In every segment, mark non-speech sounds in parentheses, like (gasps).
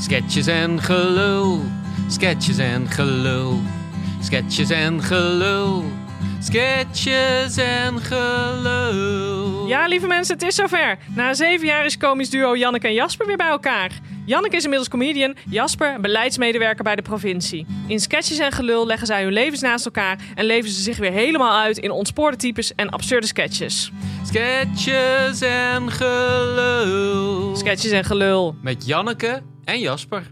Sketches en gelul, sketches en gelul, sketches en gelul, sketches en gelul. Ja, lieve mensen, het is zover. Na zeven jaar is komisch duo Janneke en Jasper weer bij elkaar. Janneke is inmiddels comedian, Jasper een beleidsmedewerker bij de provincie. In sketches en gelul leggen zij hun levens naast elkaar en leven ze zich weer helemaal uit in ontspoorde types en absurde sketches. Sketches en gelul. Sketches en gelul. Met Janneke en Jasper.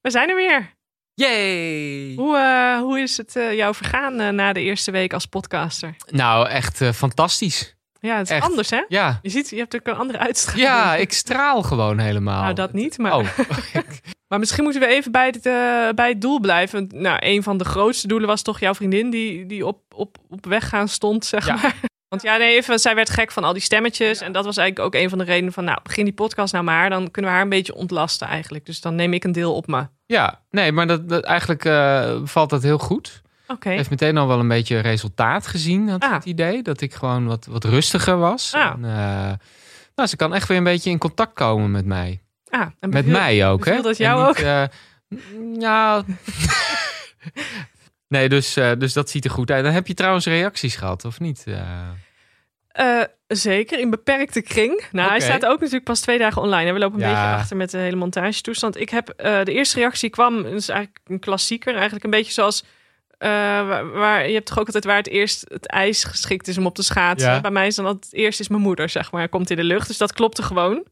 We zijn er weer. Yay! Hoe, eh, hoe is het jou jouw vergaan eh, na de eerste week als podcaster? Nou, echt eh, fantastisch. Ja, het is Echt. anders hè? Ja. Je ziet, je hebt ook een andere uitstraling. (laughs) Ja, ik straal gewoon helemaal. Nou, dat niet, maar... (laughs) Oh, Maar misschien moeten we even bij het, eh, bij het doel blijven. Want, Nou, een van de grootste doelen was toch jouw vriendin die, die op, op, op weg gaan stond, zeg Ja. maar. Want ja, nee, even, zij werd gek van al die stemmetjes. En dat was eigenlijk ook een van de redenen van, nou, begin die podcast nou maar. Dan kunnen we haar een beetje ontlasten eigenlijk. Dus dan neem ik een deel op me. Oké. ja. Nee, maar dat, dat- eigenlijk eh, valt dat heel goed. Heeft meteen al wel een beetje resultaat gezien, had ik Ah. het idee. Dat ik gewoon wat, wat rustiger was. Ah. En, eh, nou, ze kan echt weer een beetje in contact komen met mij. Ah, en Met beviel- mij ook, hè? beviel dat En jou niet, ook? eh, n- (laughs) ja. nee, dus, eh, dus dat ziet er goed uit. Dan heb je trouwens reacties gehad, of niet? Eh, Eh, zeker, in beperkte kring. Nou, hij Oké. staat ook natuurlijk pas twee dagen online. En we lopen een Ja. beetje achter met de hele montagetoestand. Ik heb eh, de eerste reactie kwam, dat is eigenlijk een klassieker. Eigenlijk een beetje zoals. eh, waar, waar- je hebt toch ook altijd waar het eerst het ijs geschikt is om op te schaatsen. Ja. Bij mij is dan altijd het eerst is mijn moeder, zeg maar, komt in de lucht. Dus dat klopte gewoon.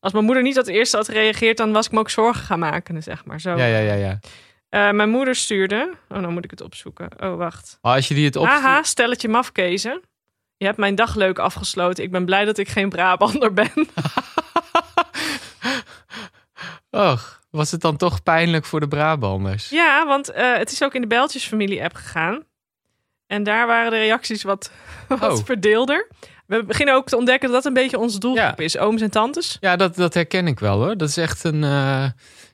Als mijn moeder niet als eerste had gereageerd, dan was ik me ook zorgen gaan maken, zeg maar. Zo. ja, ja, ja. ja. Eh, mijn moeder stuurde. Oh, nou moet ik het opzoeken. Oh, wacht. Maar als je die het op. Haha, stelletje mafkezen. Je hebt mijn dag leuk afgesloten. Ik ben blij dat ik geen Brabander ben. Och, was het dan toch pijnlijk voor de Brabanders? (laughs) ja, want eh, het is ook in de Beltjesfamilie-app gegaan. En daar waren de reacties wat, (laughs) wat Oh. verdeelder. We beginnen ook te ontdekken dat dat een beetje onze doelgroep Ja. is. Ooms en tantes. Ja, dat, dat herken ik wel hoor. Dat is echt een. eh,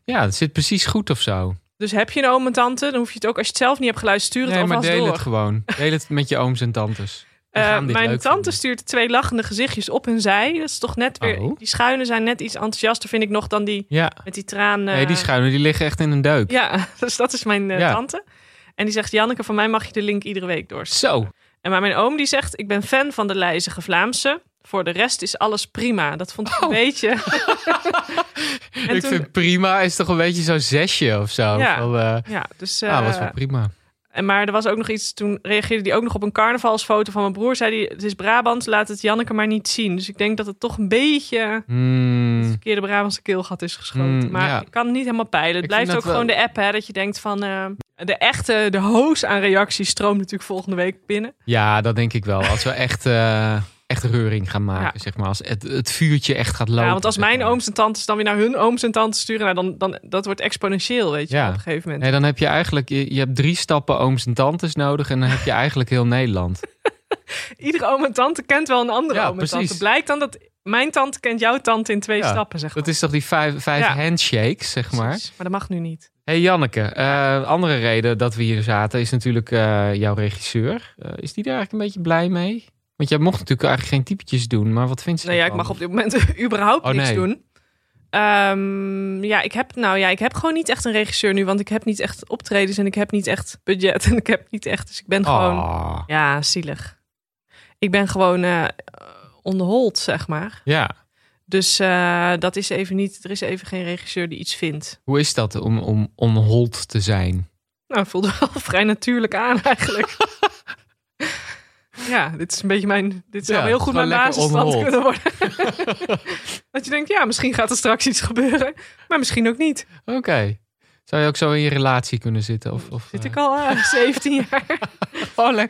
ja, het zit precies goed of zo. Dus heb je een oom en tante, dan hoef je het ook... Als je het zelf niet hebt geluisterd, stuur het nee, maar alvast deel door. het gewoon. Deel het met je ooms en tantes. Die Eh, gaan dit mijn leuk tante stuurt twee lachende gezichtjes op hun zij. Dat is toch net weer... Oh. Die schuinen zijn net iets enthousiaster, vind ik nog, dan die vinden. Ja. met die tranen... Nee, die schuinen die liggen echt in een deuk. Eh. Ja, (laughs) dus dat is mijn eh, Ja. tante. En die zegt, Janneke, van mij mag je de link iedere week doorsturen. Zo. En maar mijn oom die zegt, ik ben fan van de lijzige Vlaamse. Voor de rest is alles prima. Dat vond ik Oh. een beetje... en ik toen- vind prima is toch een beetje zo'n zesje of zo. Ja. Van, eh, Ja, dus... ah, was eh, wel prima. en maar er was ook nog iets, toen reageerde hij ook nog op een carnavalsfoto van mijn broer. Zei hij, het is Brabant, laat het Janneke maar niet zien. Dus ik denk dat het toch een beetje Hmm. het verkeerde Brabantse keelgat is geschoten. Mm, maar ja. ik kan het niet helemaal peilen. Het Ik blijft vind ook dat wel- gewoon de app, hè, dat je denkt van... eh, de echte, de hoos aan reacties stroomt natuurlijk volgende week binnen. Ja, dat denk ik wel. Als we echt, eh, echt reuring gaan maken, zeg maar. Als het, het vuurtje echt gaat lopen. Ja, want als zeg mijn maar. ooms en tantes dan weer naar hun ooms en tantes sturen, nou, dan, dan dat wordt exponentieel, weet je, Ja. op een gegeven moment. Nee, dan heb je eigenlijk... Je, je hebt drie stappen ooms en tantes nodig... en dan heb je eigenlijk heel (laughs) Nederland. Iedere oom en tante kent wel een andere Ja, oom en tante. precies. Blijkt dan dat mijn tante kent jouw tante in twee Ja, stappen, zeg maar. Dat is toch die vijf, vijf Ja. handshakes, zeg maar. Precies, dat mag nu niet. hey Janneke, eh, andere reden dat we hier zaten is natuurlijk eh, jouw regisseur. Eh, is die daar eigenlijk een beetje blij mee? Want jij mocht natuurlijk eigenlijk geen typetjes doen, maar wat vindt ze Nou ja, ik ervan? mag op dit moment (laughs) überhaupt Oh, niks nee. doen. Ehm, ja, ik heb, nou ja, ik heb gewoon niet echt een regisseur nu, want ik heb niet echt optredens en ik heb niet echt budget (laughs) en ik heb niet echt, dus ik ben gewoon, Ah, ja, zielig. Ik ben gewoon eh onderhold, zeg maar. Ja, Dus eh, dat is even niet. Er is even geen regisseur die iets vindt. hoe is dat om, om, om hold te zijn? Nou, het voelde (laughs) wel vrij natuurlijk aan (laughs) eigenlijk. ja, dit is een beetje mijn. Dit zou Ja, heel goed mijn gewoon lekker basisstand onhold. kunnen worden. (laughs) dat je denkt, ja, misschien gaat er straks iets gebeuren, maar misschien ook niet. Oké. Zou je ook zo in je relatie kunnen zitten? Of, of, Zit eh, ik al (laughs) eh, 17 jaar, Oh, le-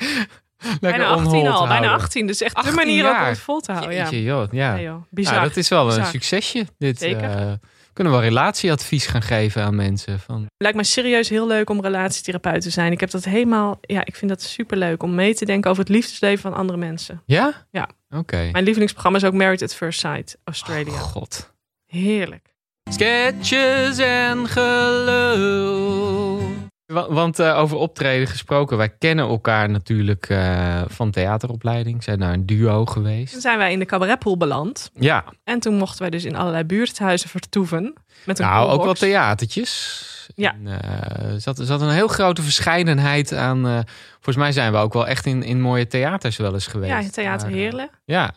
(laughs) lekker bijna on 18 hold al, bijna houden. 18. Dus echt de 18 manier ook om jaar. het vol te houden. Ja, Jeetje, joh, ja. Nee, joh. Ja, bizar. dat is wel een Bizar. succesje. Dit, Zeker. eh, kunnen we wel relatieadvies gaan geven aan mensen. Van, Lijkt me serieus heel leuk om relatietherapeut te zijn. Ik heb dat helemaal. Ja, ik vind dat superleuk om mee te denken over het liefdesleven van andere mensen. ja? Ja. Oké. Mijn lievelingsprogramma is ook Married at First Sight, Oh. Australia. God. Heerlijk. Sketches en gelul. Wa- Want eh, over optreden gesproken, wij kennen elkaar natuurlijk eh, van theateropleiding. Zijn daar een duo geweest. Toen zijn wij in de cabaretpool beland. Ja, En toen mochten wij dus in allerlei buurthuizen vertoeven. Met een nou ook wel koelbox. theatertjes. Ja. En, eh, er zat, er zat een heel grote verscheidenheid aan. eh, volgens mij zijn we ook wel echt in, in mooie theaters wel eens geweest. Ja, Theater Maar, eh, Heerlen. Ja,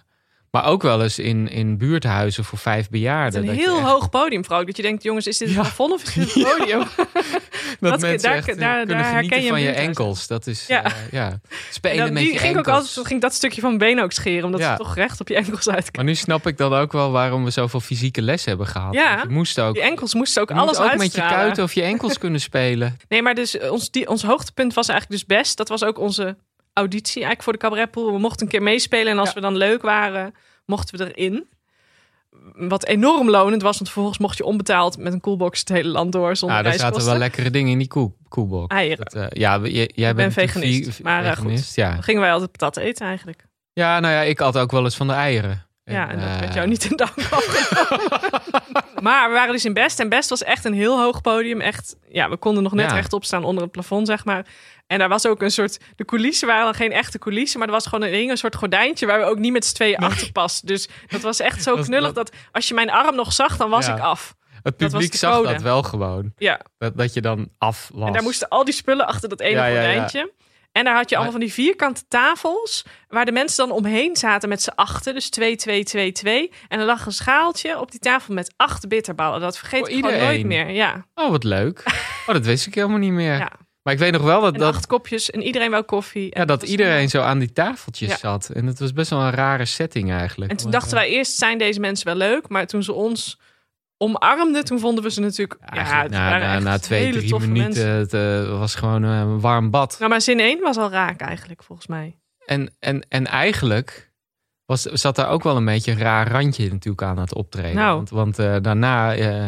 maar ook wel eens in, in buurthuizen voor vijf Met bejaarden. een dat je heel echt- hoog podium, vrouw. Dat je denkt, jongens, is dit het Ja. plafond (laughs) of is dit het podium? (laughs) Dat, Dat- mensen daar- echt, eh, daar- kunnen daar herken genieten je van een je buurthuis. enkels. Dat is, Ja. ja. ja. Spelen Ja, met die je ging ik enkels. ook altijd, ging ik dat stukje van benen ook scheren, omdat Ja. ze toch recht op je enkels uitkwamen. Maar nu snap ik dan ook wel waarom we zoveel fysieke les hebben gehad. Ja. Want Je moest ook, Die enkels moesten ook je alles moet ook met je uitstralen. kuiten of je enkels kunnen spelen. Nee, maar dus eh, ons, die, ons hoogtepunt was eigenlijk dus best. Dat was ook onze auditie eigenlijk voor de cabaretpool. We mochten een keer meespelen en als Ja. we dan leuk waren, mochten we erin. Wat enorm lonend was, want vervolgens mocht je onbetaald met een coolbox het hele land door (laughs) zonder Nou, daar zaten reiskosten. Ah, wel lekkere dingen in die koe, koelbox. Eieren. Dat, eh, ja, we- j- jij Ik ben bent natuurlijk veganist, vi- vi- maar, eh, goed. veganist, ja. Dan gingen wij altijd patat eten eigenlijk. ja, nou ja, ik had ook wel eens van de eieren. ja, en dat eh, werd jou niet in dank (laughs) afgenomen. maar we waren dus in Best. En Best was echt een heel hoog podium. Echt, ja, we konden nog net Ja. rechtop staan onder het plafond, zeg maar. En daar was ook een soort... De coulissen waren dan geen echte coulissen. Maar er was gewoon een, hing een soort gordijntje... waar we ook niet met z'n tweeën achter pasten. Dus dat was echt zo Dat- knullig dat... als je mijn arm nog zag, dan was Ja. ik af. Het was publiek de zag code. dat wel gewoon. Ja. Dat, dat je dan af was. En daar moesten al die spullen achter dat ene Ja, ja, ja. gordijntje. En daar had je allemaal Maar- van die vierkante tafels... waar de mensen dan omheen zaten met z'n achten. Dus twee, twee, twee, twee. En er lag een schaaltje op die tafel met acht bitterballen. Dat vergeet Voor ik gewoon nooit iedereen. meer. Ja. Oh, wat (laughs) leuk. Oh, dat wist ik helemaal niet meer. Ja. Maar ik weet nog wel dat, En dat, acht kopjes en iedereen wou koffie. En ja, dat was- iedereen zo aan die tafeltjes Ja. zat. En het was best wel een rare setting eigenlijk. En toen Maar, dachten wij eerst, zijn deze mensen wel leuk? Maar toen ze ons omarmden, toen vonden we ze natuurlijk... Ja, Eigenlijk het na, waren na, echt na twee, hele drie toffe minuten mensen. het, eh, was gewoon eh, een warm bad. Nou, maar zin 1 was al raak eigenlijk, volgens mij. En, en, en eigenlijk was, zat daar ook wel een beetje een raar randje natuurlijk aan het optreden. Nou. Want, want eh, daarna, eh,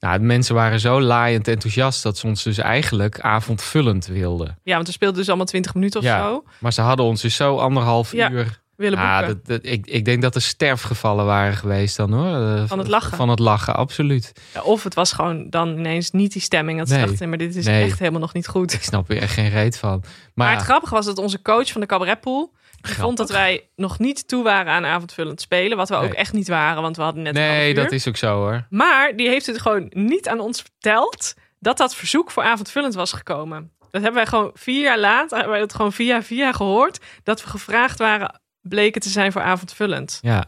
nou, de mensen waren zo laaiend enthousiast dat ze ons dus eigenlijk avondvullend wilden. Ja, want we speelden dus allemaal 20 minuten of Ja. zo. Maar ze hadden ons dus zo anderhalf Ja, uur. Willen boeken. Ah, dat, dat- ik, ik denk dat er sterfgevallen waren geweest dan hoor. Eh, Van het lachen. Van het lachen, absoluut. Ja, Of het was gewoon dan ineens niet die stemming. Dat ze Nee. dachten, nee, maar dit is Nee. echt helemaal nog niet goed. Ik snap er echt geen reet van. Maar Maar, het grappige was dat onze coach van de cabaretpool... die vond dat wij nog niet toe waren aan avondvullend spelen. Wat we ook Nee. echt niet waren, want we hadden net een half nee, uur. dat is ook zo hoor. Maar die heeft het gewoon niet aan ons verteld dat dat verzoek voor avondvullend was gekomen. Dat hebben wij gewoon vier jaar later, hebben wij dat gewoon via via gehoord, dat we gevraagd waren, bleken te zijn voor avondvullend. Ja.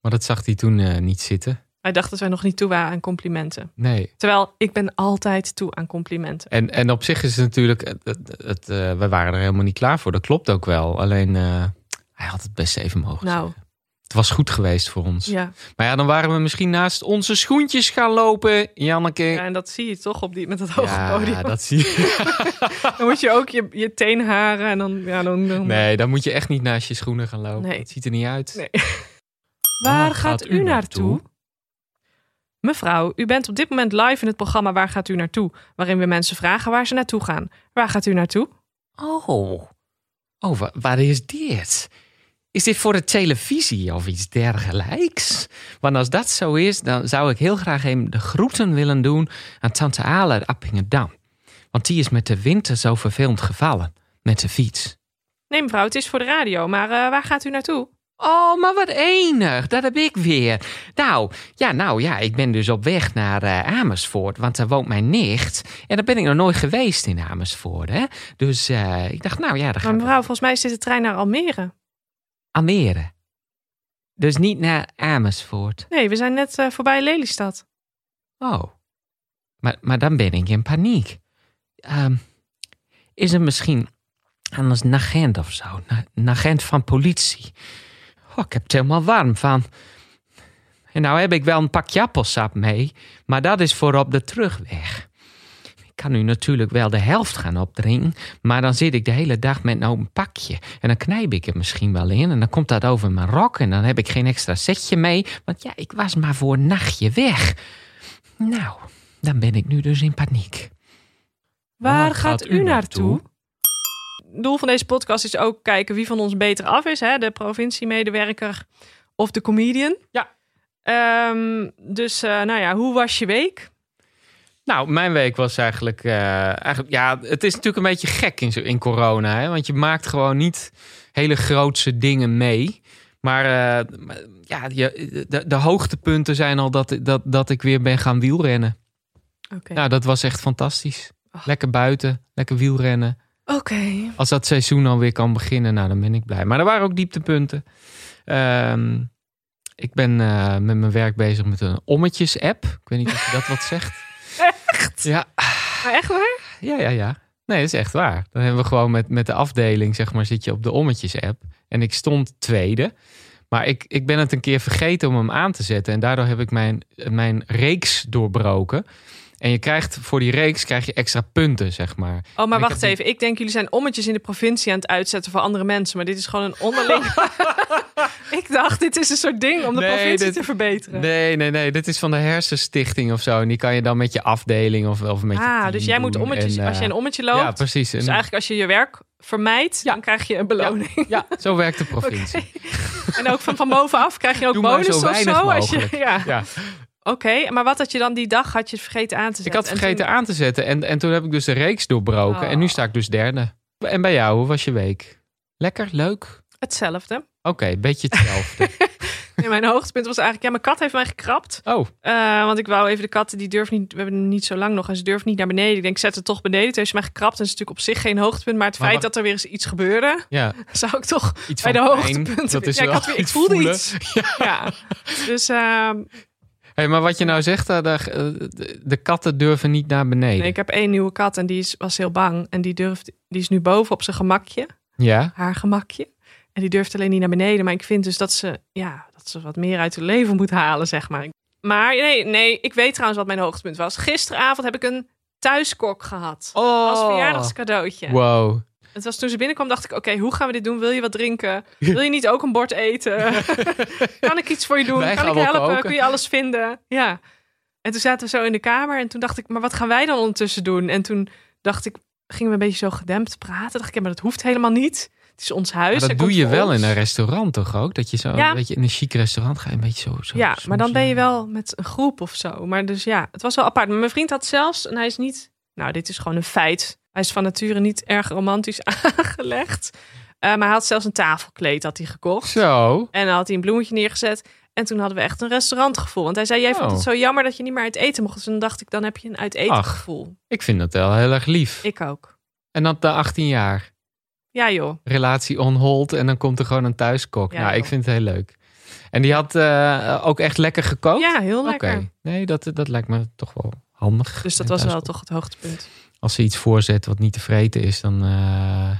Maar dat zag hij toen eh, niet zitten. Hij dacht dat wij nog niet toe waren aan complimenten. Nee. Terwijl ik ben altijd toe aan complimenten. En, en op zich is het natuurlijk, het, het, het, eh, we waren er helemaal niet klaar voor. Dat klopt ook wel. Alleen eh, hij had het best even mogen. Nou, Het was goed geweest voor ons. ja. Maar ja, dan waren we misschien naast onze schoentjes gaan lopen, Janneke. ja, Oh, en dat zie je toch op die, met dat hoge Ja, podium. dat zie (laughs) je. Dan moet je ook je, je teenharen en dan... Ja, dan, dan- Nee, dan moet je echt niet naast je schoenen gaan lopen. Nee. Het ziet er niet uit. Nee. Waar gaat u naartoe? Mevrouw, u bent op dit moment live in het programma Waar gaat u naartoe? Waarin we mensen vragen waar ze naartoe gaan. Waar gaat u naartoe? Oh, oh wa- waar is dit? Is dit voor de televisie of iets dergelijks? Want als dat zo is, dan zou ik heel graag even de groeten willen doen aan tante Ale uit Appingedam. Want die is met de winter zo vervelend gevallen. Met de fiets. Nee, mevrouw, het is voor de radio, maar eh, waar gaat u naartoe? Oh, maar wat enig. Dat heb ik weer. Nou, ja, nou ja, ik ben dus op weg naar eh, Amersfoort, want daar woont mijn nicht. En daar ben ik nog nooit geweest in Amersfoort, hè. Dus eh, ik dacht, nou ja, daar Maar gaan we mevrouw, volgens mij is dit de trein naar Almere. Almere. Dus niet naar Amersfoort. Nee, we zijn net eh, voorbij Lelystad. Oh. Maar, maar dan ben ik in paniek. Ehm, is er misschien anders een agent of zo? Na- Een agent van politie? Oh, ik heb het helemaal warm van. En nou heb ik wel een pakje appelsap mee, maar dat is voor op de terugweg. Ik kan nu natuurlijk wel de helft gaan opdrinken, maar dan zit ik de hele dag met nou een open pakje. En dan knijp ik het misschien wel in en dan komt dat over mijn rok en dan heb ik geen extra setje mee. Want ja, ik was maar voor een nachtje weg. Nou, dan ben ik nu dus in paniek. Waar, gaat, u naartoe? Het doel van deze podcast is ook kijken wie van ons beter af is. Hè? De provinciemedewerker of de comedian. Ja. Ehm, dus, eh, nou ja, hoe was je week? Nou, mijn week was eigenlijk, eh, eigenlijk... Ja, het is natuurlijk een beetje gek in, zo- in corona. Hè? Want je maakt gewoon niet hele grootse dingen mee. Maar eh, maar, ja, je, de, de hoogtepunten zijn al dat, dat, dat ik weer ben gaan wielrennen. Oké. Nou, dat was echt fantastisch. Ach. Lekker buiten, lekker wielrennen. Oké. Als dat seizoen alweer kan beginnen, nou, dan ben ik blij. Maar er waren ook dieptepunten. Ehm, ik ben eh, met mijn werk bezig met een ommetjes-app. Ik weet niet of je dat wat zegt. Echt? Ja, Maar Ah, echt waar? ja, ja, ja. Nee, dat is echt waar. Dan hebben we gewoon met, met de afdeling, zeg maar, zit je op de ommetjes-app. En ik stond tweede. Maar ik, ik ben het een keer vergeten om hem aan te zetten. En daardoor heb ik mijn, mijn reeks doorbroken. En je krijgt voor die reeks krijg je extra punten, zeg maar. Oh, maar Ik wacht heb- even. Ik denk jullie zijn ommetjes in de provincie aan het uitzetten voor andere mensen. Maar dit is gewoon (laughs) een onderling. ik dacht, dit is een soort ding om de Nee, provincie dit- te verbeteren. Nee, nee, nee. Dit is van de hersenstichting of zo. En die kan je dan met je afdeling of, of met je ah, team dus jij moet doen. ommetjes, En, eh, als je een ommetje Ja, loopt. precies. En- dus eigenlijk als je je werk vermijdt, Ja. dan krijg je een beloning. ja, zo werkt (laughs) de provincie. En ook van, van bovenaf krijg je ook Doe maar bonus zo of weinig zo. Als je, mogelijk. ja. Ja. Oké, maar wat had je dan die dag? Had je het vergeten aan te Ik zetten? had vergeten aan te zetten. En, en toen heb ik dus de reeks doorbroken. Oh. En nu sta ik dus derde. En bij jou, hoe was je week? Lekker? Leuk? Oké, Hetzelfde. beetje hetzelfde. (laughs) Nee, mijn hoogtepunt was eigenlijk... Ja, mijn kat heeft mij gekrapt. oh, Eh, want ik wou even de katten, die durft niet... We hebben hem niet zo lang nog en ze durft niet naar beneden. Ik denk, ik zet het toch beneden. Toen heeft ze mij gekrapt. En dat is natuurlijk op zich geen hoogtepunt. Maar het Maar feit wacht. dat er weer eens iets gebeurde... (laughs) ja. zou ik toch Iets bij van de pijn, hoogtepunten... Dat is ja, ik, wel had weer, ik iets voelde voelen. iets. (laughs) Ja. Dus ehm, Hey, maar wat je nou zegt, eh, daar, eh, de, de katten durven niet naar beneden. nee, ik heb één nieuwe kat en die is, was heel bang. En die, durft, die is nu boven op zijn gemakje. Ja? haar gemakje. En die durft alleen niet naar beneden. Maar ik vind dus dat ze, ja, dat ze wat meer uit hun leven moet halen, zeg maar. Maar nee, nee, ik weet trouwens wat mijn hoogtepunt was. Gisteravond heb ik een thuiskok gehad. Oh. Als verjaardagscadeautje. Wow. Het was toen ze binnenkwam, dacht ik, oké, hoe gaan we dit doen? Wil je wat (laughs) drinken? Wil je niet ook een bord eten? kan ik iets voor je doen? Wij kan gaan ik wel helpen? koken. Kun je alles vinden? Ja. En toen zaten we zo in de kamer en toen dacht ik, maar wat gaan wij dan ondertussen doen? En toen dacht ik, gingen we een beetje zo gedempt praten. Dacht ik, ja, maar dat hoeft helemaal niet. Het is ons huis. Maar hij dat doe komt je voor wel ons. in een restaurant toch ook? Dat je zo, Ja. dat je in een chic restaurant ga je een beetje zo. zo dus Ja, maar dan ben je smoesen. wel met een groep of zo. Maar dus ja, het was wel apart. Maar mijn vriend had zelfs, en hij is niet, nou, dit is gewoon een feit. Hij is van nature niet erg romantisch (laughs) aangelegd. Eh, maar hij had zelfs een tafelkleed had hij gekocht. Zo. En dan had hij een bloemetje neergezet. En toen hadden we echt een restaurantgevoel. Want hij zei, jij vond Oh. het zo jammer dat je niet meer uit eten mocht. Dus dan dacht ik, dan heb je een uit eten Ach. gevoel. Ik vind dat wel heel erg lief. Ik ook. En dan de 18 jaar. Ja joh. Relatie on hold. En dan komt er gewoon een thuiskok. Ja, nou, ik joh. vind het heel leuk. En die had eh, ook echt lekker gekookt? Ja, heel Oké. lekker. Nee, dat, dat lijkt me toch wel handig. Dus dat Een was wel thuiskok. toch het hoogtepunt. Als ze iets voorzet wat niet te vreten is, dan... eh,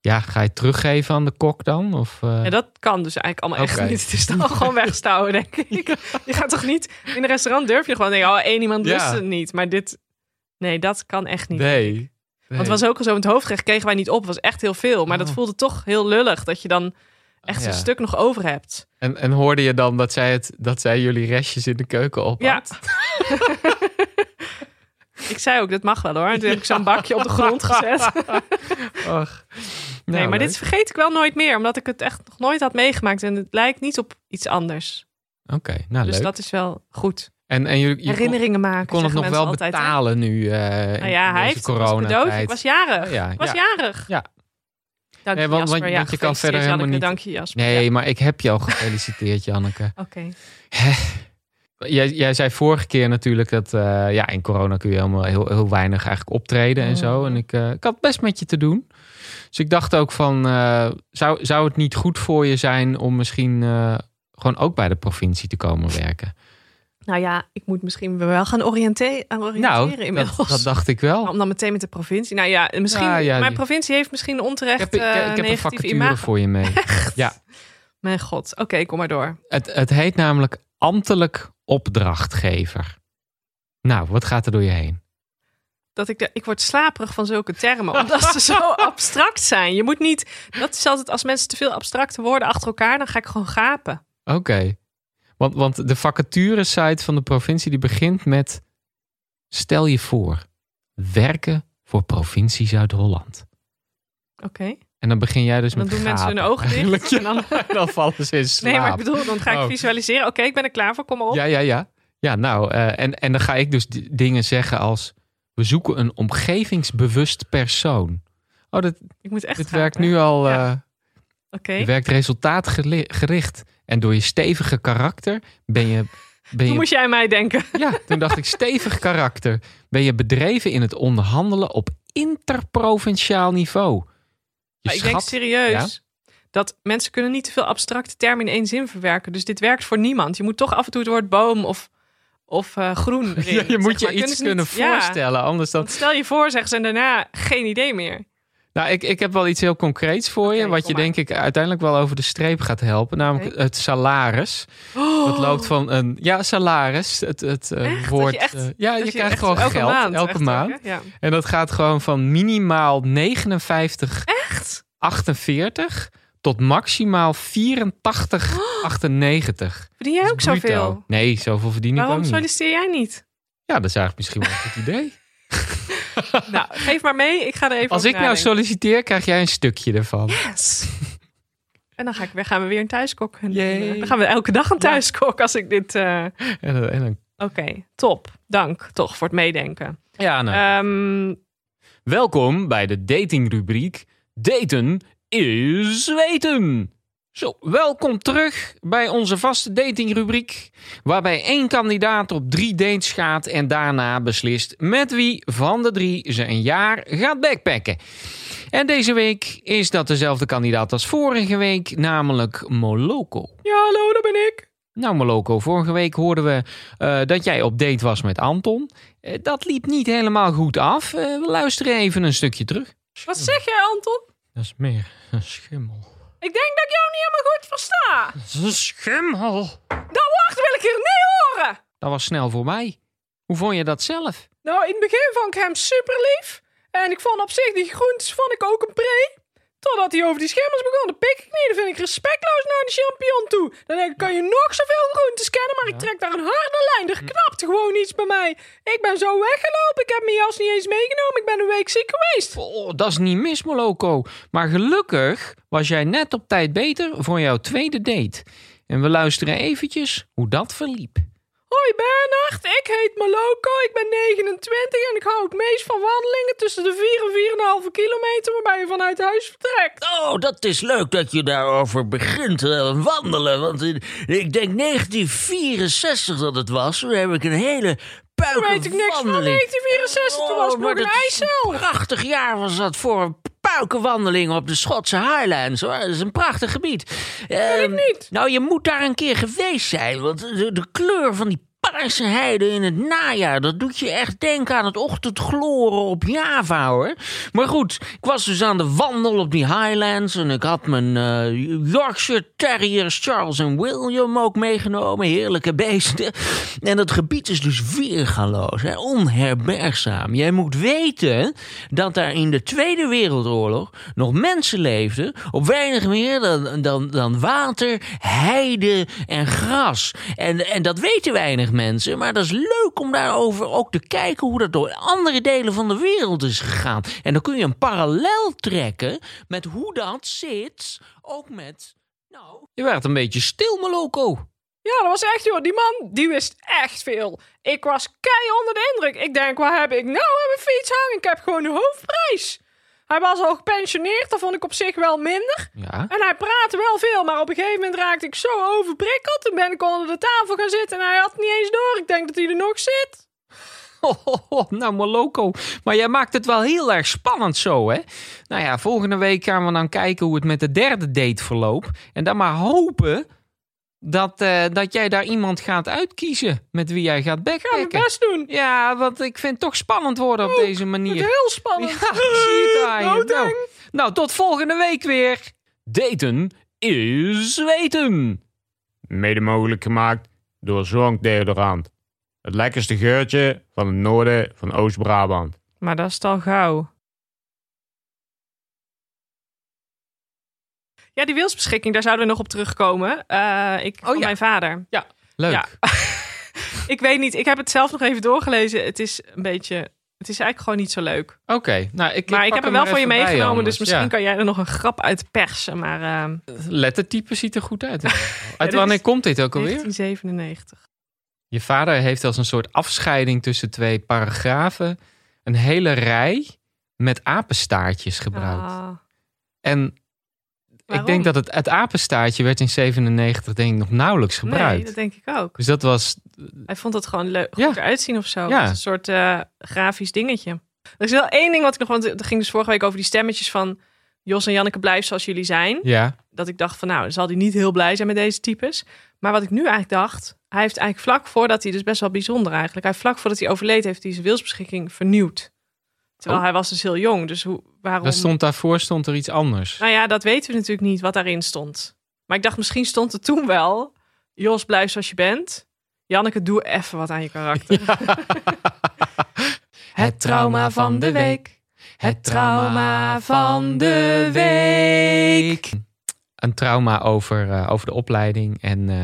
ja, ga je het teruggeven aan de kok dan? Of, eh, Ja, dat kan dus eigenlijk allemaal Oké. echt niet. Het is (laughs) dan gewoon wegstouwen, denk ik. Je gaat toch niet... In een restaurant durf je gewoon... Nee, oh, één iemand Ja. lust het niet. Maar dit... Nee, dat kan echt niet. nee. Want het was ook al zo, in het hoofdrecht kregen wij niet op. Het was echt heel veel. Maar dat Oh. voelde toch heel lullig. Dat je dan echt Ja. een stuk nog over hebt. En, en hoorde je dan dat zij, het, dat zij jullie restjes in de keuken op Ja. (laughs) ik zei ook, dat mag wel hoor. En toen heb ik zo'n bakje op de grond (laughs) gezet. Ach. Nee, Nou, maar dit vergeet ik wel nooit meer. Omdat ik het echt nog nooit had meegemaakt. En het lijkt niet op iets anders. Oké, nou dus leuk. dat is wel goed. En, en jullie, je kon, Herinneringen maken. je kon het zeggen nog wel mensen altijd, hè? betalen nu eh in Nou ja, deze hij heeft het als coronatijd. cadeautje. Ik was jarig. Oh, ja, Ik was ja. jarig. Ja. Dank Nee, je, want- Jasper. want- ja, want je kan verder gefeliciteerd, helemaal Janneke. niet- Dank je, Jasper. Nee, Ja. maar ik heb je al gefeliciteerd, Janneke. Oké. Jij, jij zei vorige keer natuurlijk dat eh, ja, in corona kun je helemaal heel, heel weinig eigenlijk optreden en Mm. zo. En ik, eh, ik had best met je te doen. Dus ik dacht ook van, eh, zou, zou het niet goed voor je zijn om misschien eh, gewoon ook bij de provincie te komen werken? Nou ja, ik moet misschien wel gaan oriënte- aan oriënteren nou, dat, inmiddels. dat dacht ik wel. (laughs) Om dan meteen met de provincie. Nou ja, misschien, Ja, ja, mijn die- provincie heeft misschien Ik onterecht heb, ik, eh, ik heb een negatief vacature imago. voor je (laughs) mee. Mijn god. Oké, kom maar door. Het, het heet namelijk ambtelijk opdrachtgever. Nou, wat gaat er door je heen? dat ik, de- ik word slaperig van zulke termen. Omdat ze (laughs) zo abstract zijn. Je moet niet. Dat is altijd als mensen te veel abstracte woorden achter elkaar. dan ga ik gewoon gapen. Oké. Want, want de vacature-site van de provincie die begint met... Stel je voor, werken voor provincie Zuid-Holland. Oké. En dan begin jij dus Dan met doen mensen hun gapen ogen eigenlijk. (laughs) dicht. En dan, (laughs) Ja, dan vallen ze in slaap. nee, maar ik bedoel, dan ga ik Oh. visualiseren. Oké, ik ben er klaar voor. Kom maar op. Ja, ja, ja. Ja, nou, eh, en, en dan ga ik dus d- dingen zeggen als... We zoeken een omgevingsbewust persoon. Oh, dat, Ik moet echt dit gaan, werkt hè? nu al... eh Ja. Oké. Je werkt resultaatgericht. En door je stevige karakter ben je... (laughs) Ben Toen je moest jij mij denken. Ja, toen dacht ik, stevig karakter. Ben je bedreven in het onderhandelen op interprovinciaal niveau? Je Maar ik denk schat- serieus dat mensen kunnen niet te veel abstracte termen in één zin verwerken. Dus dit werkt voor niemand. Je moet toch af en toe het woord boom of, of eh, groen. (laughs) (laughs) erin, Ja, je zeg moet je maar. iets ze kunnen niet- ja, voorstellen. Anders dan... want stel je voor, zeggen ze en daarna geen idee meer. Nou, ik, ik heb wel iets heel concreets voor je. Oké, Wat kom je maar. denk ik uiteindelijk wel over de streep gaat helpen. Namelijk het salaris. Oh, Dat loopt van een... Ja, salaris. Het, het eh, Echt? Dat woord... je echt- eh, ja, je Dat krijgt echt gewoon elke geld maand, elke echt ook, maand. hè? Ja. En dat gaat gewoon van minimaal 59 Echt? 48 tot maximaal 84 98. Verdien jij (gasps) ook Dat is bruto. zoveel? Nee, zoveel verdien ik Waarom ook niet. solliciteer jij (laughs) niet? Ja, dat is eigenlijk misschien wel een goed idee. Nou, geef maar mee. (laughs) Ik ga er even Als over ik nou nadenken. solliciteer, krijg jij een stukje ervan. (laughs) Yes. En dan ga ik weer, gaan we weer een thuiskok. doen. Yay. Dan gaan we elke dag een thuiskok als ik dit... eh, En, dan- en dan, Oké, top. Dank toch voor het meedenken. ja, nou. Ehm, Welkom bij de datingrubriek. Daten is weten. Zo, welkom terug bij onze vaste datingrubriek. Waarbij één kandidaat op drie dates gaat en daarna beslist met wie van de drie ze een jaar gaat backpacken. En deze week is dat dezelfde kandidaat als vorige week, namelijk Moloko. ja, hallo, daar ben ik. Nou, Moloko, vorige week hoorden we eh, dat jij op date was met Anton. Eh, dat liep niet helemaal goed af. Eh, we luisteren even een stukje terug. Wat zeg jij, Anton? Dat is meer een schimmel. Ik denk dat ik jou niet helemaal goed versta. Dat is een schimmel. Dat woord wil ik hier niet horen. Dat was snel voor mij. Hoe vond je dat zelf? Nou, in het begin vond ik hem super lief. En ik vond op zich die groentes vond ik ook een pre. Totdat hij over die schimmels begon, dat pik ik niet. Dat vind ik respectloos naar de champignon toe. Dan denk ik, kan je nog zoveel groentes kennen, maar ik trek daar een harde lijn. Er knapt gewoon iets bij mij. Ik ben zo weggelopen, ik heb mijn jas niet eens meegenomen. Ik ben een week ziek geweest. Oh, dat is niet mis, Moloko. Maar gelukkig was jij net op tijd beter voor jouw tweede date. En we luisteren eventjes hoe dat verliep. Hoi Bernard, ik heet Maloko, ik ben 29 en ik hou het meest van wandelingen tussen de 4 en 4,5 kilometer waarbij je vanuit huis vertrekt. Oh, dat is leuk dat je daarover begint te wandelen. Want in- ik denk 1964 dat het was. Toen heb ik een hele puikenwandeling. Weet ik niks van 1964, toen was het Oh, maar nog een dat is ijsel. prachtig jaar was dat voor een puikenwandeling op de Schotse Highlands. Hoor. Dat is een prachtig gebied. Ehm, ik niet. Nou, je moet daar een keer geweest zijn. Want de, de kleur van die paarse heide in het najaar... dat doet je echt denken aan het ochtendgloren op Java, hoor. Maar goed, ik was dus aan de wandel op die Highlands... en ik had mijn eh, Yorkshire Terriers Charles en William ook meegenomen. Heerlijke beesten. En dat gebied is dus weergaloos, hè? onherbergzaam. Jij moet weten dat daar in de Tweede Wereldoorlog nog mensen leefden op weinig meer dan, dan, dan water, heide en gras. En, en dat weten weinig mensen, maar dat is leuk om daarover ook te kijken hoe dat door andere delen van de wereld is gegaan. En dan kun je een parallel trekken met hoe dat zit, ook met. Nou, Je werd een beetje stil, Moloko. Ja, dat was echt joh, die man, die wist echt veel. Ik was kei onder de indruk. Ik denk, waar heb ik nou aan mijn fiets hangen? Ik heb gewoon de hoofdprijs. Hij was al gepensioneerd, dat vond ik op zich wel minder. Ja. En hij praatte wel veel, maar op een gegeven moment raakte ik zo overprikkeld. Toen ben ik onder de tafel gaan zitten en hij had het niet eens door. Ik denk dat hij er nog zit. Ho, ho, ho. (laughs) nou, Moloko. Maar jij maakt het wel heel erg spannend zo, hè? Nou ja, volgende week gaan we dan kijken hoe het met de derde date verloopt. En dan maar hopen dat, eh, dat jij daar iemand gaat uitkiezen met wie jij gaat Ik ga mijn backpacken. best doen. Ja, want ik vind het toch spannend worden op deze Het manier. is heel spannend. Ja, (laughs) zie je (laughs) daar. Nou, Doodeng. nou, tot volgende week weer. Daten is weten. mede mogelijk gemaakt door zwonkdeodorant. Het lekkerste geurtje van het noorden van Oost-Brabant. Maar dat is het al gauw. Ja, die wilsbeschikking, daar zouden we nog op terugkomen. Eh, ik, van Oh ja. mijn vader. Leuk. Ja. (laughs) Ik weet niet, ik heb het zelf nog even doorgelezen. Het is een beetje, het is eigenlijk gewoon niet zo leuk. Oké, nou ik. Maar ik, pak heb hem wel er voor je even bij, meegenomen, anders. dus misschien Ja. kan jij er nog een grap uit persen. Maar eh, (laughs) Lettertype ziet er goed uit. in ieder geval. dit Uit is wanneer komt dit ook alweer? 1997. Je vader heeft als een soort afscheiding tussen twee paragrafen een hele rij met apenstaartjes gebruikt. Ah, En ik waarom? denk dat het, het apenstaartje werd in 97 denk ik nog nauwelijks gebruikt. Nee, dat denk ik ook. Dus dat was Hij vond het gewoon leuk, Ja. goed eruit zien of zo. Ja. Het is Een soort eh, grafisch dingetje. Er is wel één ding wat ik nog... Want het ging dus vorige week over die stemmetjes van... Jos en Janneke, blijf zoals jullie zijn. ja, Dat ik dacht van nou, dan zal hij niet heel blij zijn met deze types. Maar wat ik nu eigenlijk dacht... Hij heeft eigenlijk vlak voordat hij... Dus best wel bijzonder eigenlijk. Hij heeft vlak voordat hij overleed heeft hij zijn wilsbeschikking vernieuwd. Terwijl hij was dus heel jong. Dus hoe, waarom... Oh. daar stond daarvoor stond er iets anders. Nou ja, dat weten we natuurlijk niet wat daarin stond. Maar ik dacht, misschien stond er toen wel... Jos, blijf zoals je bent. Janneke, doe even wat aan je karakter. Het trauma van de week. Het trauma van de week. Een trauma over, eh, over de opleiding en, eh,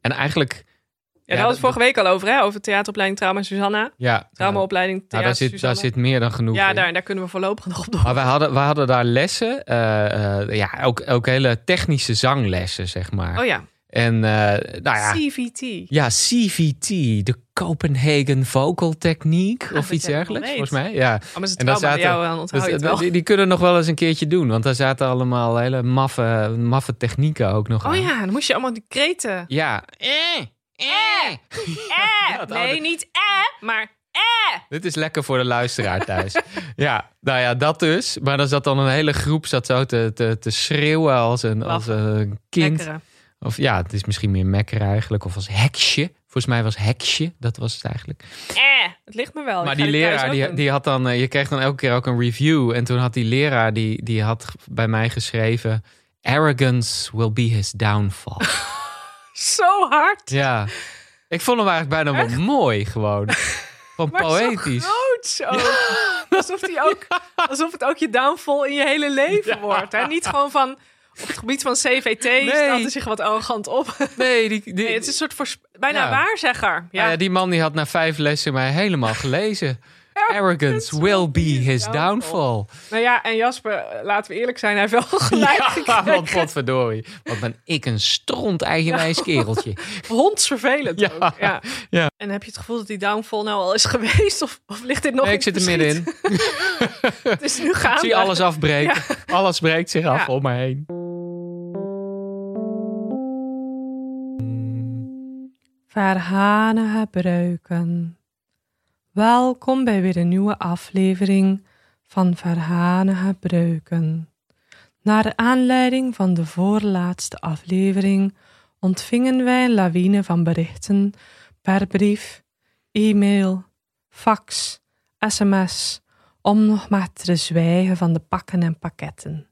en eigenlijk... Ja, dat- daar hadden we het vorige week al over, hè? Over theateropleiding Trauma Susanna. Ja, nou, Traumaopleiding Theater daar, zit, daar Susanna. zit meer dan genoeg Ja, in. Ah, daar, daar kunnen we voorlopig nog op door. Maar we hadden, we hadden daar lessen, eh, eh, ja, ook, ook hele technische zanglessen, zeg maar. Oh ja, En eh, nou ja, CVT. ja, CVT, de Copenhagen Vocal Techniek Ah, of dat iets jij dat dergelijks, al volgens mij. Ja. Oh, maar is het En daar trauma bij zaten- jou, dan onthoud Dus, je het eh, wel. die, die kunnen nog wel eens een keertje doen, want daar zaten allemaal hele maffe, maffe technieken ook nog Oh aan. ja, dan moest je allemaal die kreten. Ja, Eh! Eh! dat nee, oude- niet eh, maar eh! dit is lekker voor de luisteraar thuis. (laughs) ja, nou ja, dat dus. Maar dan zat dan een hele groep zat zo te, te, te schreeuwen als een, als een kind. Lekkere. Of ja, het is misschien meer mekker eigenlijk. Of als heksje. Volgens mij was heksje, dat was het eigenlijk. Eh! Het ligt me wel. Ik maar ga die dit thuis leraar, ook die, doen. die had dan, eh, je kreeg dan elke keer ook een review. En toen had die leraar, die, die had g- bij mij geschreven... Arrogance will be his (laughs) downfall. Zo hard! ja. Ik vond hem eigenlijk bijna wel mooi (laughs) gewoon. Van Maar poëtisch. zo groot zo. (laughs) Alsof, die ook, alsof het ook je downfall in je hele leven wordt. Hè? Niet gewoon van... Op het gebied van CVT staat er zich wat arrogant op. Nee, die, die, (laughs) Nee, het is een soort voors- bijna Ja. waarzegger. Ja. Eh, nou ja, die man die had na vijf lessen mij helemaal (laughs) gelezen. Arrogance will be his downfall. Nou ja, en Jasper, laten we eerlijk zijn, hij heeft wel gelijk Ja, (laughs) gekregen. want potverdorie. Wat ben ik een stront eigenwijs kereltje. Hondsvervelend Ja. ook. Ja. Ja. En heb je het gevoel dat die downfall nou al is (laughs) geweest? Of, of ligt dit nog Nee, ik in het zit er verschiet? middenin. Het is nu gaande. Ik zie alles afbreken. Alles breekt zich af Ja. om me heen. Verhane breuken. Welkom bij weer een nieuwe aflevering van Verhane breuken. Naar aanleiding van de voorlaatste aflevering ontvingen wij een lawine van berichten per brief, e-mail, fax, sms, om nog maar te zwijgen van de pakken en pakketten.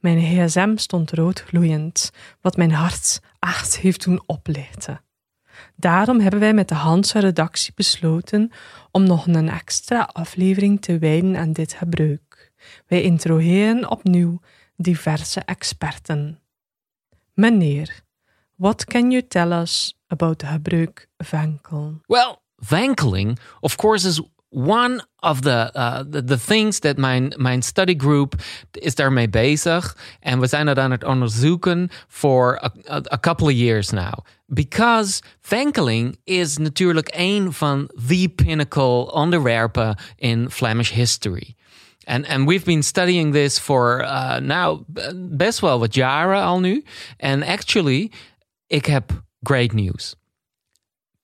Mijn gsm stond roodgloeiend, wat mijn hart acht heeft doen oplichten. Daarom hebben wij met de Hanse redactie besloten om nog een extra aflevering te wijden aan dit gebruik. Wij introduceren opnieuw diverse experten. Meneer, what can you tell us about the gebruik venkel? Well, Wankeling, of course, is one of the, uh, the, the things that mijn, mijn study group is daarmee bezig. En we zijn dat aan het onderzoeken voor a, a, a couple of years now. Because wankeling is natuurlijk een van the pinnacle onderwerpen in Flemish history. And, and we've been studying this for uh, now b- best wel wat jaren al nu. And actually, ik heb great news.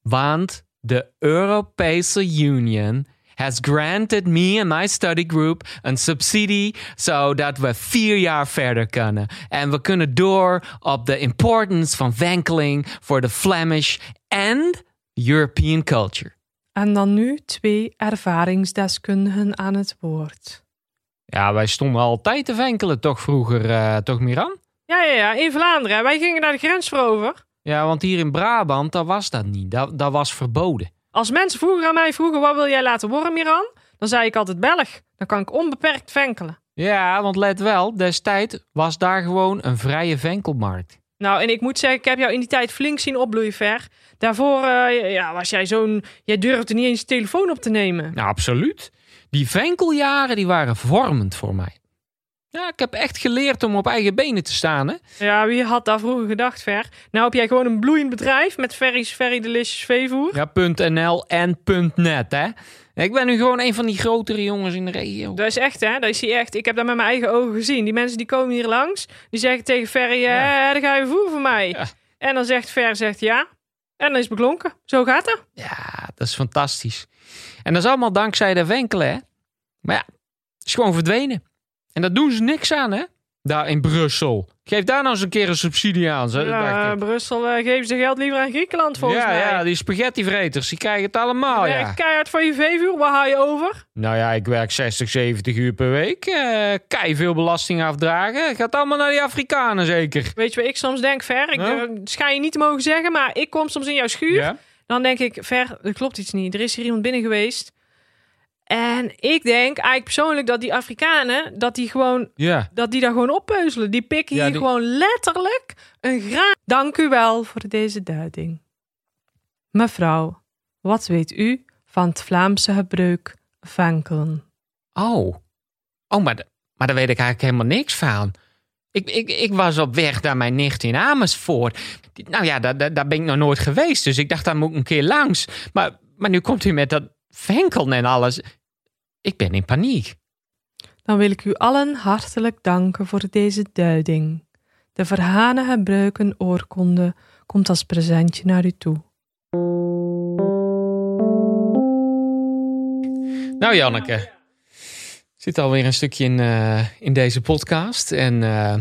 Want the Europese Union has granted me and my study group een subsidie zodat we vier jaar verder kunnen. En we kunnen door op de importance van wankeling voor de Flemish and European culture. En dan nu twee ervaringsdeskundigen aan het woord. Ja, wij stonden altijd te wankelen, toch vroeger, eh, toch Miran? Ja, ja, ja, in Vlaanderen. hè. Wij gingen naar de grens voor over. Ja, want hier in Brabant, daar was dat niet. Dat, dat was verboden. Als mensen vroeger aan mij vroegen, wat wil jij laten worden, Miran? Dan zei ik altijd Belg. Dan kan ik onbeperkt venkelen. Ja, want let wel, destijds was daar gewoon een vrije venkelmarkt. Nou, en ik moet zeggen, ik heb jou in die tijd flink zien opbloeien, Ver. Daarvoor eh, ja, was jij zo'n... Jij durfde niet eens je telefoon op te nemen. Nou, absoluut. Die venkeljaren die waren vormend voor mij. Ja, ik heb echt geleerd om op eigen benen te staan. Hè? Ja, wie had daar vroeger gedacht, Ver? Nou heb jij gewoon een bloeiend bedrijf met ferries, ferry delicious veevoer. Ja, .nl en .net, hè? Ik ben nu gewoon een van die grotere jongens in de regio. Dat is echt, hè? Dat is hier echt. Ik heb dat met mijn eigen ogen gezien. Die mensen die komen hier langs, die zeggen tegen Ferry, eh, daar ga je voer voor mij. Ja. En dan zegt Ver, zegt ja. En dan is het beklonken. Zo gaat dat. Ja, dat is fantastisch. En dat is allemaal dankzij de winkelen, hè? Maar ja, het is gewoon verdwenen. En daar doen ze niks aan, hè? Daar in Brussel. Geef daar nou eens een keer een subsidie aan, zeg. Ja, dacht ik. Brussel eh, geven ze geld liever aan Griekenland, volgens ja, mij. ja, die spaghettivreters, die krijgen het allemaal, Werk ja. Keihard voor je veevoer, waar haal je over? Nou ja, ik werk 60, 70 uur per week. Eh kei veel belasting afdragen. Gaat allemaal naar die Afrikanen, zeker. Weet je wat ik soms denk, Ver? Ik Nou? eh, schijn je niet te mogen zeggen, maar ik kom soms in jouw schuur. Dan denk ik, Ver, er klopt iets niet. Er is hier iemand binnen geweest. En ik denk eigenlijk persoonlijk dat die Afrikanen, dat die gewoon, Ja. dat die daar gewoon oppeuzelen. Die pikken Ja, hier die- gewoon letterlijk een graan. Dank u wel voor deze duiding. Mevrouw, wat weet u van het Vlaamse gebruik vankelen? Oh. Oh, maar, d- maar daar weet ik eigenlijk helemaal niks van. Ik, ik, ik was op weg naar mijn nicht in Amersfoort. Die- Nou ja, daar, daar, daar ben ik nog nooit geweest. Dus ik dacht, daar moet ik een keer langs. Maar, maar nu komt u met dat venkelen en alles. Ik ben in paniek. Dan wil ik u allen hartelijk danken voor deze duiding. De Verhane Gebruiken oorkonde komt als presentje naar u toe. Nou, Janneke. Zit alweer een stukje in, eh, in deze podcast. En eh,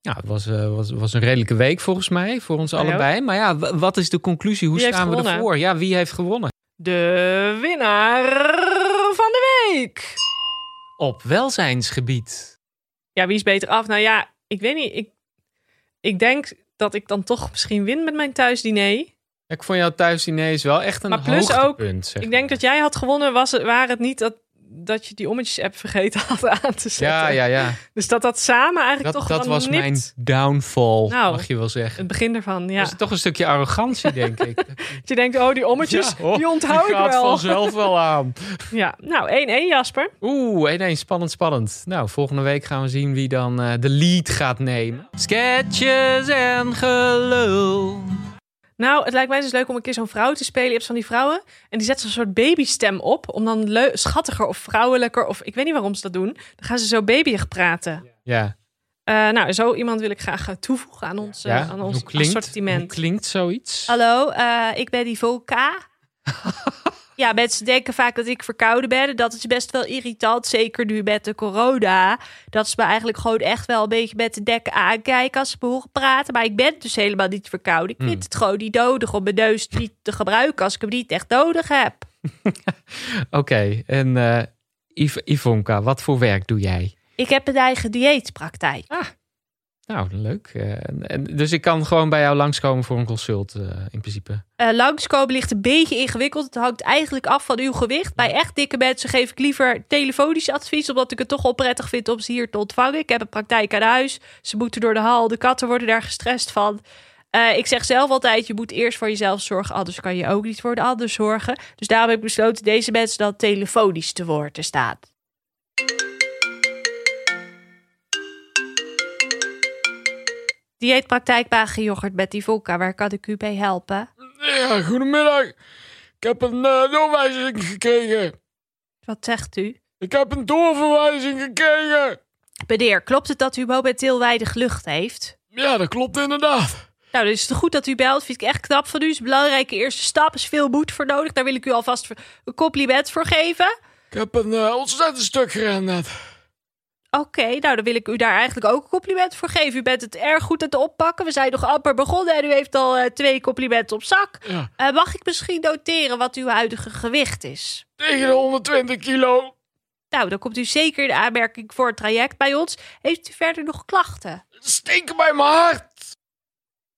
ja, het was, eh, was, was een redelijke week volgens mij, voor ons Ja, joh. allebei. Maar ja, w- wat is de conclusie? Hoe Wie heeft staan we gewonnen? ervoor? Ja, wie heeft gewonnen? De winnaar van de week. Op welzijnsgebied. Ja, wie is beter af? Nou ja, ik weet niet. Ik, ik denk dat ik dan toch misschien win met mijn thuisdiner. Ik vond jouw thuisdiner is wel echt een Maar plus ook, hoogtepunt. zeg Ik denk maar. dat jij had gewonnen, was het, waar het niet dat, dat je die ommetjes-app vergeten had aan te zetten. Ja, ja, ja. Dus dat dat samen eigenlijk Dat, toch dat dan was nipt. mijn downfall, Nou, mag je wel zeggen. Het begin ervan, ja. Dat is toch een stukje arrogantie, denk (laughs) ik. Dat je denkt, oh, die ommetjes, Ja, oh, die onthoud Die ik gaat wel. vanzelf wel aan. Ja, nou, 1-1 Jasper. Oeh, 1-1, spannend, spannend. Nou, volgende week gaan we zien wie dan eh, de lead gaat nemen. Sketches en gelul. Nou, het lijkt mij dus leuk om een keer zo'n vrouw te spelen. Je hebt van die vrouwen en die zetten zo'n soort babystem op. Om dan leu- schattiger of vrouwelijker of ik weet niet waarom ze dat doen. Dan gaan ze zo babyig praten. Ja, Eh, nou, zo iemand wil ik graag eh, toevoegen aan ons, eh, ja. aan ons hoe klinkt, assortiment. Hoe klinkt zoiets? Hallo, eh, ik ben Ivolka. ja, mensen denken vaak dat ik verkouden ben. En dat is best wel irritant, zeker nu met de corona. Dat ze me eigenlijk gewoon echt wel een beetje met de dek aankijken als ze me horen praten. Maar ik ben dus helemaal niet verkouden. Ik vind Hmm. het gewoon niet nodig om mijn neus niet te gebruiken als ik hem niet echt nodig heb. Oké, en eh, Iv Ivonka, wat voor werk doe jij? Ik heb een eigen dieetpraktijk. Nou, leuk. Eh, en, en- dus ik kan gewoon bij jou langskomen voor een consult, eh, in principe. Eh, langskomen ligt een beetje ingewikkeld. Het hangt eigenlijk af van uw gewicht. Bij echt dikke mensen geef ik liever telefonisch advies, omdat ik het toch wel prettig vind om ze hier te ontvangen. Ik heb een praktijk aan huis. Ze moeten door de hal. De katten worden daar gestrest van. Eh, ik zeg zelf altijd: je moet eerst voor jezelf zorgen, anders kan je ook niet voor de ander zorgen. Dus daarom heb ik besloten deze mensen dan telefonisch te woord te staan. Dieetpraktijkwagen yoghurt met die volka, waar kan ik u bij helpen? Ja, goedemiddag. Ik heb een eh, doorwijzing gekregen. Wat zegt u? Ik heb een doorverwijzing gekregen. Meneer, klopt het dat u momenteel weinig lucht heeft? Ja, dat klopt inderdaad. Nou, dan is het goed dat u belt. Vind ik echt knap van u. Het is een belangrijke eerste stap. Er is veel moed voor nodig. Daar wil ik u alvast voor- een compliment voor geven. Ik heb een eh, ontzettend stuk gerend net. Oké, nou dan wil ik u daar eigenlijk ook een compliment voor geven. U bent het erg goed aan het oppakken. We zijn nog amper begonnen en u heeft al eh, twee complimenten op zak. Ja. Eh, mag ik misschien noteren wat uw huidige gewicht is? Tegen de 120 kilo. Nou, dan komt u zeker in aanmerking voor het traject bij ons. Heeft u verder nog klachten? Steken bij mijn hart.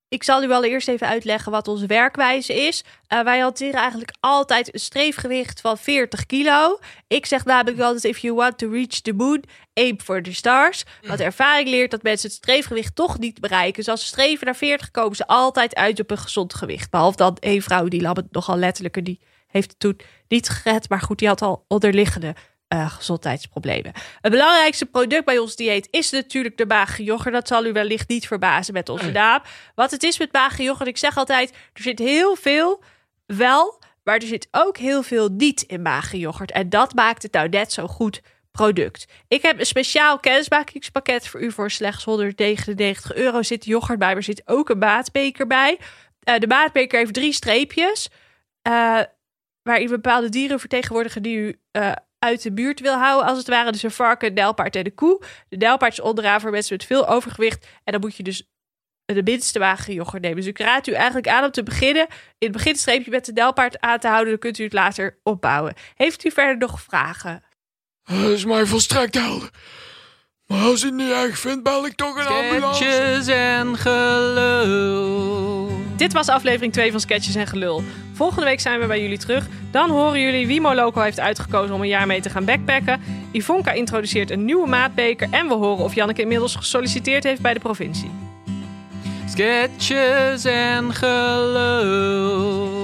Ik zal u allereerst even uitleggen wat onze werkwijze is. Eh, wij hanteren eigenlijk altijd een streefgewicht van 40 kilo. Ik zeg namelijk altijd: if you want to reach the moon, aim for the stars. Want ervaring leert dat mensen het streefgewicht toch niet bereiken. Dus als ze streven naar 40, komen ze altijd uit op een gezond gewicht. Behalve dan één vrouw die nam het nogal letterlijk en die heeft het toen niet gered. Maar goed, die had al onderliggende eh, gezondheidsproblemen. Het belangrijkste product bij ons dieet is natuurlijk de maagjoghurt. Dat zal u wellicht niet verbazen met onze naam. Wat het is met maagjoghurt, ik zeg altijd, er zit heel veel wel, maar er zit ook heel veel niet in maagjoghurt. En dat maakt het nou net zo goed product. Ik heb een speciaal kennismakingspakket voor u voor slechts 199 euro. Zit yoghurt bij, maar er zit ook een maatbeker bij. Eh, de maatbeker heeft drie streepjes. eh, waarin bepaalde dieren vertegenwoordigen die u eh, uit de buurt wil houden, als het ware. Dus een varken, een nijlpaard en een koe. De nijlpaard is onderaan voor mensen met veel overgewicht. En dan moet je dus de minste wagen yoghurt nemen. Dus ik raad u eigenlijk aan om te beginnen. In het begin streepje met de nijlpaard aan te houden. Dan kunt u het later opbouwen. Heeft u verder nog vragen? Dat is mij volstrekt helder. Maar als je het niet erg vindt, bel ik toch een ambulance. Sketches en gelul. Dit was aflevering 2 van Sketches en Gelul. Volgende week zijn we bij jullie terug. Dan horen jullie wie Moloco heeft uitgekozen om een jaar mee te gaan backpacken. Ivonka introduceert een nieuwe maatbeker. En we horen of Janneke inmiddels gesolliciteerd heeft bij de provincie. Sketches en gelul.